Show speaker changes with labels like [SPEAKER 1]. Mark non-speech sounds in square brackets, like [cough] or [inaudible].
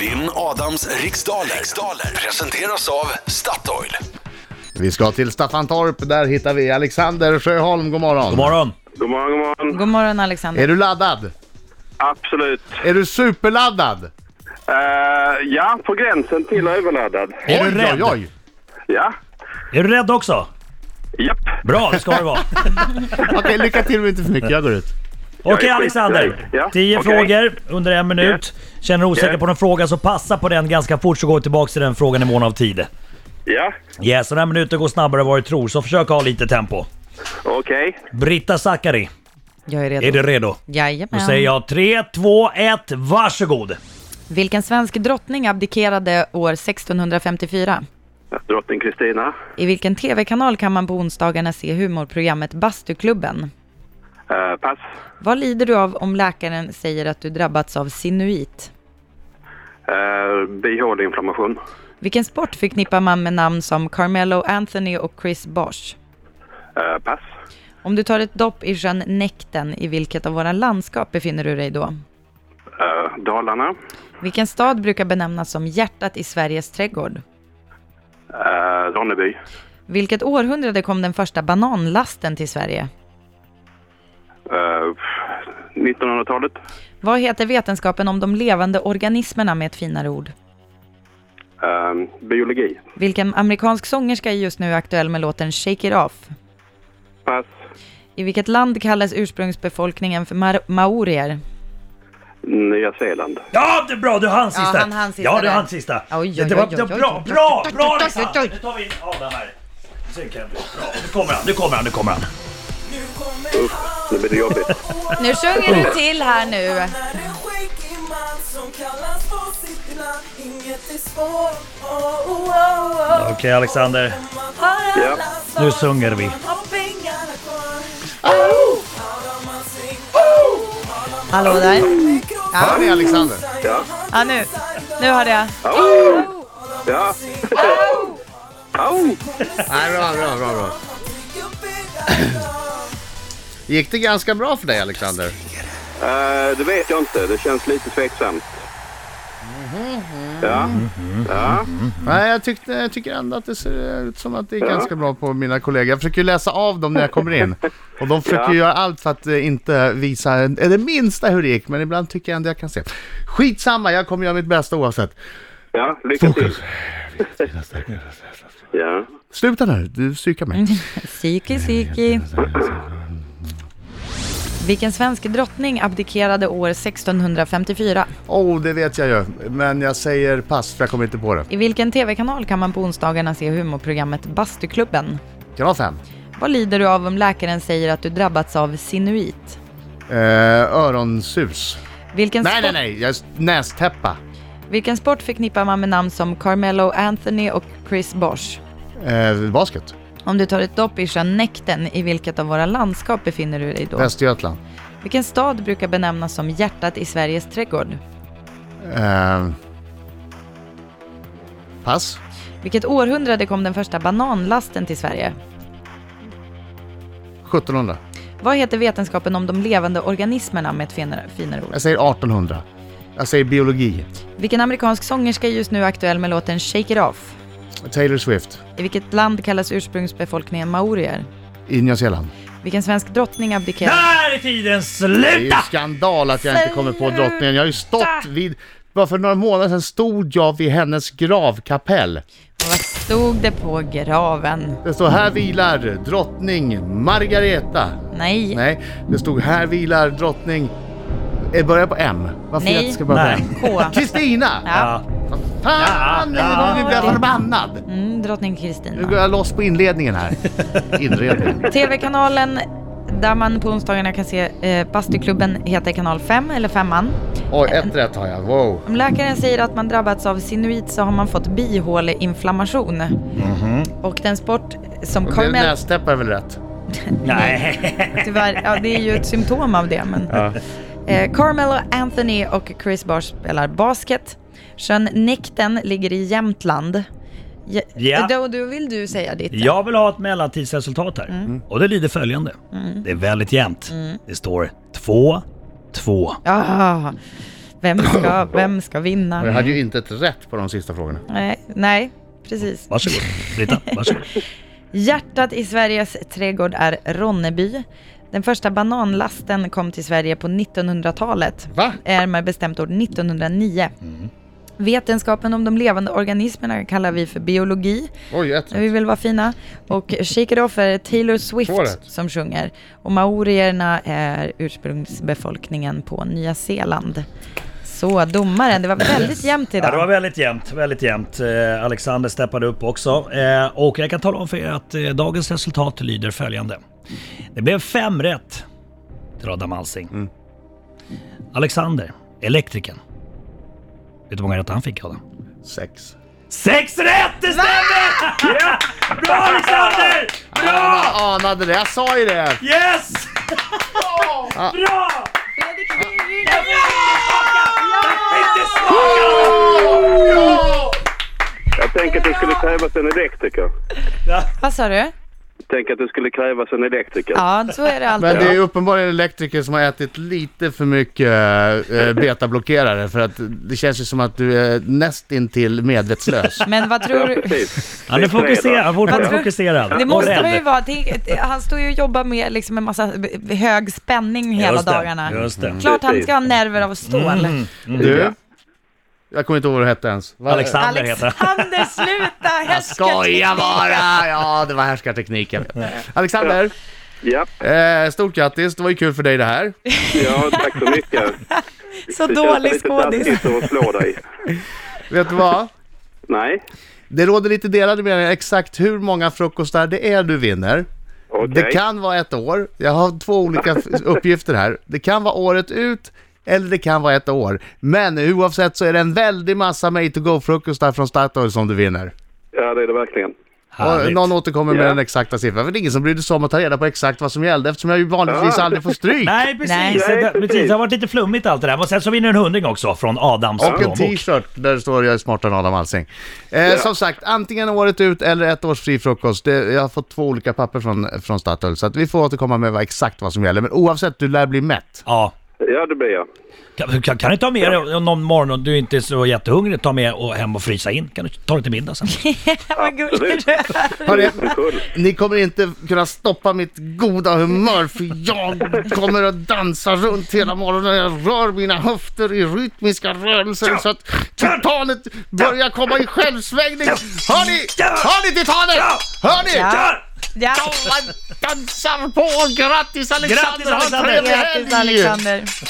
[SPEAKER 1] Vinn Adams riksdaler. riksdaler presenteras av Statoil.
[SPEAKER 2] Vi ska till Staffantorp, där hittar vi Alexander Sjöholm, god morgon.
[SPEAKER 3] God morgon!
[SPEAKER 4] God morgon, god morgon.
[SPEAKER 5] God morgon Alexander.
[SPEAKER 2] Är du laddad?
[SPEAKER 4] Absolut.
[SPEAKER 2] Är du superladdad?
[SPEAKER 4] Eh, ja, på gränsen till överladdad.
[SPEAKER 3] Är du rädd?
[SPEAKER 2] Oj, oj.
[SPEAKER 4] Ja,
[SPEAKER 3] Är du rädd också?
[SPEAKER 4] japp.
[SPEAKER 3] Bra, det ska du [laughs] vara.
[SPEAKER 2] Okej, lycka till men inte för mycket, jag går ut.
[SPEAKER 3] Okej
[SPEAKER 4] skitnöjd.
[SPEAKER 3] Alexander,
[SPEAKER 4] Ja,
[SPEAKER 3] 10
[SPEAKER 4] okej.
[SPEAKER 3] frågor under en minut. Känner du osäker
[SPEAKER 4] Yes.
[SPEAKER 3] på någon fråga så passa på den ganska fort så går vi tillbaka till den frågan i mån av tid.
[SPEAKER 4] Ja,
[SPEAKER 3] Yes, den här minuten går snabbare än vad du tror så försök ha lite tempo.
[SPEAKER 4] okej.
[SPEAKER 3] Britta Zackari,
[SPEAKER 5] Jag är redo.
[SPEAKER 3] är du redo? Då
[SPEAKER 5] Jajamän.
[SPEAKER 3] säger jag 3, 2, 1, varsågod!
[SPEAKER 5] Vilken svensk drottning abdikerade år 1654?
[SPEAKER 4] Drottning Kristina.
[SPEAKER 5] I vilken tv-kanal kan man på onsdagarna se humorprogrammet Bastuklubben?
[SPEAKER 4] Eh, pass.
[SPEAKER 5] Vad lider du av om läkaren säger att du drabbats av sinuit?
[SPEAKER 4] Uh, Bihåleinflammation.
[SPEAKER 5] Vilken sport förknippar man med namn som Carmelo Anthony och Chris Bosh?
[SPEAKER 4] Eh, pass.
[SPEAKER 5] Om du tar ett dopp i sjön Näkten, i vilket av våra landskap befinner du dig då?
[SPEAKER 4] Eh, Dalarna.
[SPEAKER 5] Vilken stad brukar benämnas som hjärtat i Sveriges trädgård?
[SPEAKER 4] Eh, Ronneby.
[SPEAKER 5] Vilket århundrade kom den första bananlasten till Sverige?
[SPEAKER 4] Eh, 1900-talet.
[SPEAKER 5] Vad heter vetenskapen om de levande organismerna med ett finare ord?
[SPEAKER 4] Eh, biologi.
[SPEAKER 5] Vilken amerikansk sångerska är just nu aktuell med låten Shake It Off?
[SPEAKER 4] Pass.
[SPEAKER 5] I vilket land kallas ursprungsbefolkningen för mar- maorier?
[SPEAKER 4] Nya Zeeland.
[SPEAKER 3] Ja, det är bra! Du hann sista!
[SPEAKER 5] han hann sista
[SPEAKER 3] Ja, du
[SPEAKER 5] där.
[SPEAKER 3] hann sista!
[SPEAKER 5] Oj, oj,
[SPEAKER 3] det var
[SPEAKER 5] oj, oj,
[SPEAKER 3] det var
[SPEAKER 5] oj,
[SPEAKER 3] bra,
[SPEAKER 5] oj,
[SPEAKER 3] bra,
[SPEAKER 5] oj, oj,
[SPEAKER 3] bra Alexander! Nu
[SPEAKER 5] oj, oj, oj.
[SPEAKER 3] tar vi in Adam här. Sen kan jag bli bra. Nu kommer han, nu kommer han, nu kommer han.
[SPEAKER 2] typ.
[SPEAKER 4] Nu blir det jobbigt.
[SPEAKER 5] Nu sjunger du till här nu.
[SPEAKER 6] Han är en skäggig man som kallas på sitt namn Inget är svårt, oh, oh, oh, oh.
[SPEAKER 3] Okej Alexander,
[SPEAKER 6] Om man har
[SPEAKER 4] Ja.
[SPEAKER 6] alla svar,
[SPEAKER 3] Nu sjunger vi.
[SPEAKER 6] om man har pengarna kvar. Oh! Har man sin-
[SPEAKER 5] Hallå där.
[SPEAKER 2] Hör ni Alexander?
[SPEAKER 4] Ja.
[SPEAKER 5] Ja, nu. Nu hörde jag. [laughs]
[SPEAKER 4] Au! Ja. [laughs] Au!
[SPEAKER 2] Nej, bra, bra, bra,
[SPEAKER 5] [clears throat]
[SPEAKER 2] [clears throat] bra. Gick det ganska bra för dig Alexander?
[SPEAKER 4] Eh, det vet jag inte. Det känns lite tveksamt. Ja. Ja.
[SPEAKER 2] Nej, jag, tyckte, jag tycker ändå att det ser ut som att det är ganska bra på mina kollegor. Jag försöker ju läsa av dem när jag kommer in. Och de försöker
[SPEAKER 4] Ja.
[SPEAKER 2] göra allt för att eh, inte visa en- det minsta hur det gick, men ibland tycker jag ändå jag kan se. Skitsamma, jag kommer göra mitt bästa oavsett.
[SPEAKER 4] Ja, lycka till. Ja.
[SPEAKER 2] Sluta nu, du psykar mig.
[SPEAKER 5] Siki, siki. Vilken svensk drottning abdikerade år 1654?
[SPEAKER 2] Oh, det vet jag ju. Men jag säger pass, för jag kommer inte på det.
[SPEAKER 5] I vilken tv-kanal kan man på onsdagarna se humorprogrammet Bastuklubben?
[SPEAKER 2] Kan vara fem.
[SPEAKER 5] Vad lider du av om läkaren säger att du drabbats av sinuit?
[SPEAKER 2] Eh, öronsus.
[SPEAKER 5] Vilken,
[SPEAKER 2] Nej, nej,
[SPEAKER 5] sport,
[SPEAKER 2] nej. Jag, nästäppa.
[SPEAKER 5] vilken sport förknippar man med namn som Carmelo Anthony och Chris Bosh?
[SPEAKER 2] Eh, basket.
[SPEAKER 5] Om du tar ett dopp i sjön Näkten, i vilket av våra landskap befinner du dig då?
[SPEAKER 2] Västergötland.
[SPEAKER 5] Vilken stad brukar benämnas som hjärtat i Sveriges trädgård?
[SPEAKER 2] Eh, pass.
[SPEAKER 5] Vilket århundrade kom den första bananlasten till Sverige?
[SPEAKER 2] 1700.
[SPEAKER 5] Vad heter vetenskapen om de levande organismerna med ett finare, finare ord?
[SPEAKER 2] Jag säger 1800. Jag säger biologi.
[SPEAKER 5] Vilken amerikansk sångerska är just nu aktuell med låten Shake It Off?
[SPEAKER 2] Taylor Swift.
[SPEAKER 5] I vilket land kallas ursprungsbefolkningen maorier?
[SPEAKER 2] I Nya Zeeland.
[SPEAKER 5] Vilken svensk drottning abdikerar?
[SPEAKER 3] där är tiden
[SPEAKER 2] Det är ju
[SPEAKER 3] slut!
[SPEAKER 2] skandal att jag inte kommer på drottningen. Jag har ju stått vid... Bara för några månader sedan stod jag vid hennes gravkapell.
[SPEAKER 5] Och vad stod det på graven?
[SPEAKER 2] Det står här vilar drottning Margareta.
[SPEAKER 5] Nej,
[SPEAKER 2] Nej, det stod här vilar drottning... Det börjar på M. Varför
[SPEAKER 5] Nej.
[SPEAKER 2] jag ska börja
[SPEAKER 3] Nej.
[SPEAKER 2] på M?
[SPEAKER 5] K.
[SPEAKER 2] Kristina!
[SPEAKER 5] Ja.
[SPEAKER 2] Fan, nu blir jag förbannad!
[SPEAKER 5] Mm, drottning
[SPEAKER 2] Nu går
[SPEAKER 5] Kristina.
[SPEAKER 2] jag loss på inledningen
[SPEAKER 5] [laughs]
[SPEAKER 2] här. Inredningen.
[SPEAKER 5] TV-kanalen där man på onsdagarna kan se eh, Bastuklubben heter kanal 5 eller 5an.
[SPEAKER 2] Oj, ett rätt har jag. Wow.
[SPEAKER 5] Om läkaren säger att man drabbats av sinuit så har man fått bihåleinflammation. Och den sport som
[SPEAKER 2] Det är
[SPEAKER 5] Carmel...
[SPEAKER 2] Nästäppa är väl rätt?
[SPEAKER 3] Nej.
[SPEAKER 5] Tyvärr, ja, det är ju ett symptom av det. Men. Eh, Carmelo Anthony och Chris Bosh spelar basket. Sjön Näkten ligger i Jämtland. Ja.
[SPEAKER 3] Ja.
[SPEAKER 5] Då, då vill du säga ditt.
[SPEAKER 3] Jag vill ha ett mellantidsresultat här. Och det lyder följande. Det är väldigt jämnt. Det står 2, 2.
[SPEAKER 5] Ah, Vem ska, vem ska
[SPEAKER 2] Och jag
[SPEAKER 5] vinna?
[SPEAKER 2] hade ju inte ett rätt på de sista frågorna.
[SPEAKER 5] Nej, nej, precis.
[SPEAKER 3] Varsågod, Britta. Varsågod.
[SPEAKER 5] Hjärtat i Sveriges trädgård är Ronneby. Den första bananlasten kom till Sverige på 1900-talet.
[SPEAKER 2] Va?
[SPEAKER 5] Är med bestämt år 1909. Vetenskapen om de levande organismerna kallar vi för biologi.
[SPEAKER 2] Oj, ett
[SPEAKER 5] Vi
[SPEAKER 2] rätt.
[SPEAKER 5] vill vara fina. Och Shake It Off är
[SPEAKER 2] Två
[SPEAKER 5] Taylor Swift
[SPEAKER 2] rätt.
[SPEAKER 5] som sjunger. Och maorierna är ursprungsbefolkningen på Nya Zeeland. Så domaren, det var väldigt jämnt
[SPEAKER 3] Ja, det var
[SPEAKER 5] idag.
[SPEAKER 3] väldigt jämnt, väldigt jämnt. Eh, Alexander steppade upp också. Eh, och jag kan tala om för er att eh, dagens resultat lyder följande. Det blev fem rätt till Adam Alsing. Alexander, elektrikern. Vet du hur många rätt han fick Adam?
[SPEAKER 2] Sex.
[SPEAKER 3] Sex rätt, det [laughs] stämmer! Bra Alexander! Bra!
[SPEAKER 2] Jag anade det, jag sa ju det!
[SPEAKER 3] Yes! Bra!
[SPEAKER 4] Jag tänker att det skulle krävas en elektriker.
[SPEAKER 5] Vad sa du?
[SPEAKER 4] Tänk att det skulle krävas en elektriker.
[SPEAKER 5] Ja, så är det
[SPEAKER 2] Men
[SPEAKER 5] alltid.
[SPEAKER 2] det är ju uppenbarligen elektriker som har ätit lite för mycket eh, betablockerare för att det känns ju som att du är nästintill medvetslös.
[SPEAKER 5] Men vad tror du?
[SPEAKER 4] Precis.
[SPEAKER 3] Han är
[SPEAKER 4] Det är fredag.
[SPEAKER 3] fokuserad, han är fortfarande
[SPEAKER 5] Ja.
[SPEAKER 3] fokuserad.
[SPEAKER 5] Det
[SPEAKER 3] Och
[SPEAKER 5] måste
[SPEAKER 3] rädd.
[SPEAKER 5] man ju vara. Tänk, Han står ju och jobbar med liksom en massa b- hög spänning hela
[SPEAKER 3] Just det,
[SPEAKER 5] dagarna. Mm.
[SPEAKER 3] Just det. Mm,
[SPEAKER 5] Klart han ska ha nerver av stål.
[SPEAKER 2] Du? Jag kommer inte ihåg vad du hette ens. Va?
[SPEAKER 3] Alexander heter han.
[SPEAKER 5] Alexander, sluta!
[SPEAKER 2] Skoja bara! Ja, det var härskartekniken. Alexander,
[SPEAKER 4] Ja,
[SPEAKER 2] eh, stort grattis. Det var ju kul för dig det här.
[SPEAKER 4] ja, tack så mycket.
[SPEAKER 5] Så
[SPEAKER 4] Det
[SPEAKER 5] [laughs] dålig
[SPEAKER 4] lite
[SPEAKER 5] skådis.
[SPEAKER 4] taskigt att slå dig.
[SPEAKER 2] Vet du vad?
[SPEAKER 4] Nej,
[SPEAKER 2] Det råder lite delade meningar exakt hur många frukostar det är du vinner.
[SPEAKER 4] okej.
[SPEAKER 2] Det kan vara ett år. Jag har två olika f- uppgifter här. Det kan vara året ut eller det kan vara ett år. Men oavsett så är det en väldig massa made to go-frukostar från Statoil som du vinner.
[SPEAKER 4] Ja, det är det verkligen.
[SPEAKER 2] Och
[SPEAKER 3] Härligt.
[SPEAKER 2] någon återkommer med
[SPEAKER 4] Ja.
[SPEAKER 2] den exakta siffran. För det är ingen som brydde sig om att ta reda på exakt vad som gällde eftersom jag ju vanligtvis
[SPEAKER 4] Ja.
[SPEAKER 2] aldrig får stryk.
[SPEAKER 3] Nej precis.
[SPEAKER 5] Nej.
[SPEAKER 3] Det,
[SPEAKER 4] Nej,
[SPEAKER 3] precis.
[SPEAKER 4] precis.
[SPEAKER 3] det har varit lite flummigt allt det där. Men sen så vinner en hundring också från Adams
[SPEAKER 2] Och en
[SPEAKER 3] plånbok.
[SPEAKER 2] t-shirt där det står jag är smartare än Adam Alsing. Eh, Som sagt, antingen året ut eller ett års fri frukost. Det, jag har fått två olika papper från, från Statoil så att vi får återkomma med vad, exakt vad som gäller. Men oavsett, du lär bli mätt.
[SPEAKER 3] Ja.
[SPEAKER 4] Ja, det blir jag.
[SPEAKER 3] Kan, kan, kan du ta med dig någon morgon och du inte är så jättehungrig, ta med och hem och frysa in. Kan du ta det till middag sen?
[SPEAKER 5] Vad gullig du är.
[SPEAKER 2] Hörrni,
[SPEAKER 4] Kul.
[SPEAKER 2] ni kommer inte kunna stoppa mitt goda humör för jag kommer att dansa runt hela morgonen. Jag rör mina höfter i rytmiska rörelser så att titanet börjar komma i självsvängning. Hör ni? Hör ni titanet? Hör ni?
[SPEAKER 5] Ja. Ja.
[SPEAKER 2] dansar på! Grattis Alexander!
[SPEAKER 3] Grattis, Alexander!
[SPEAKER 2] Ha en trevlig
[SPEAKER 5] Grattis
[SPEAKER 2] helg!
[SPEAKER 5] Alexander.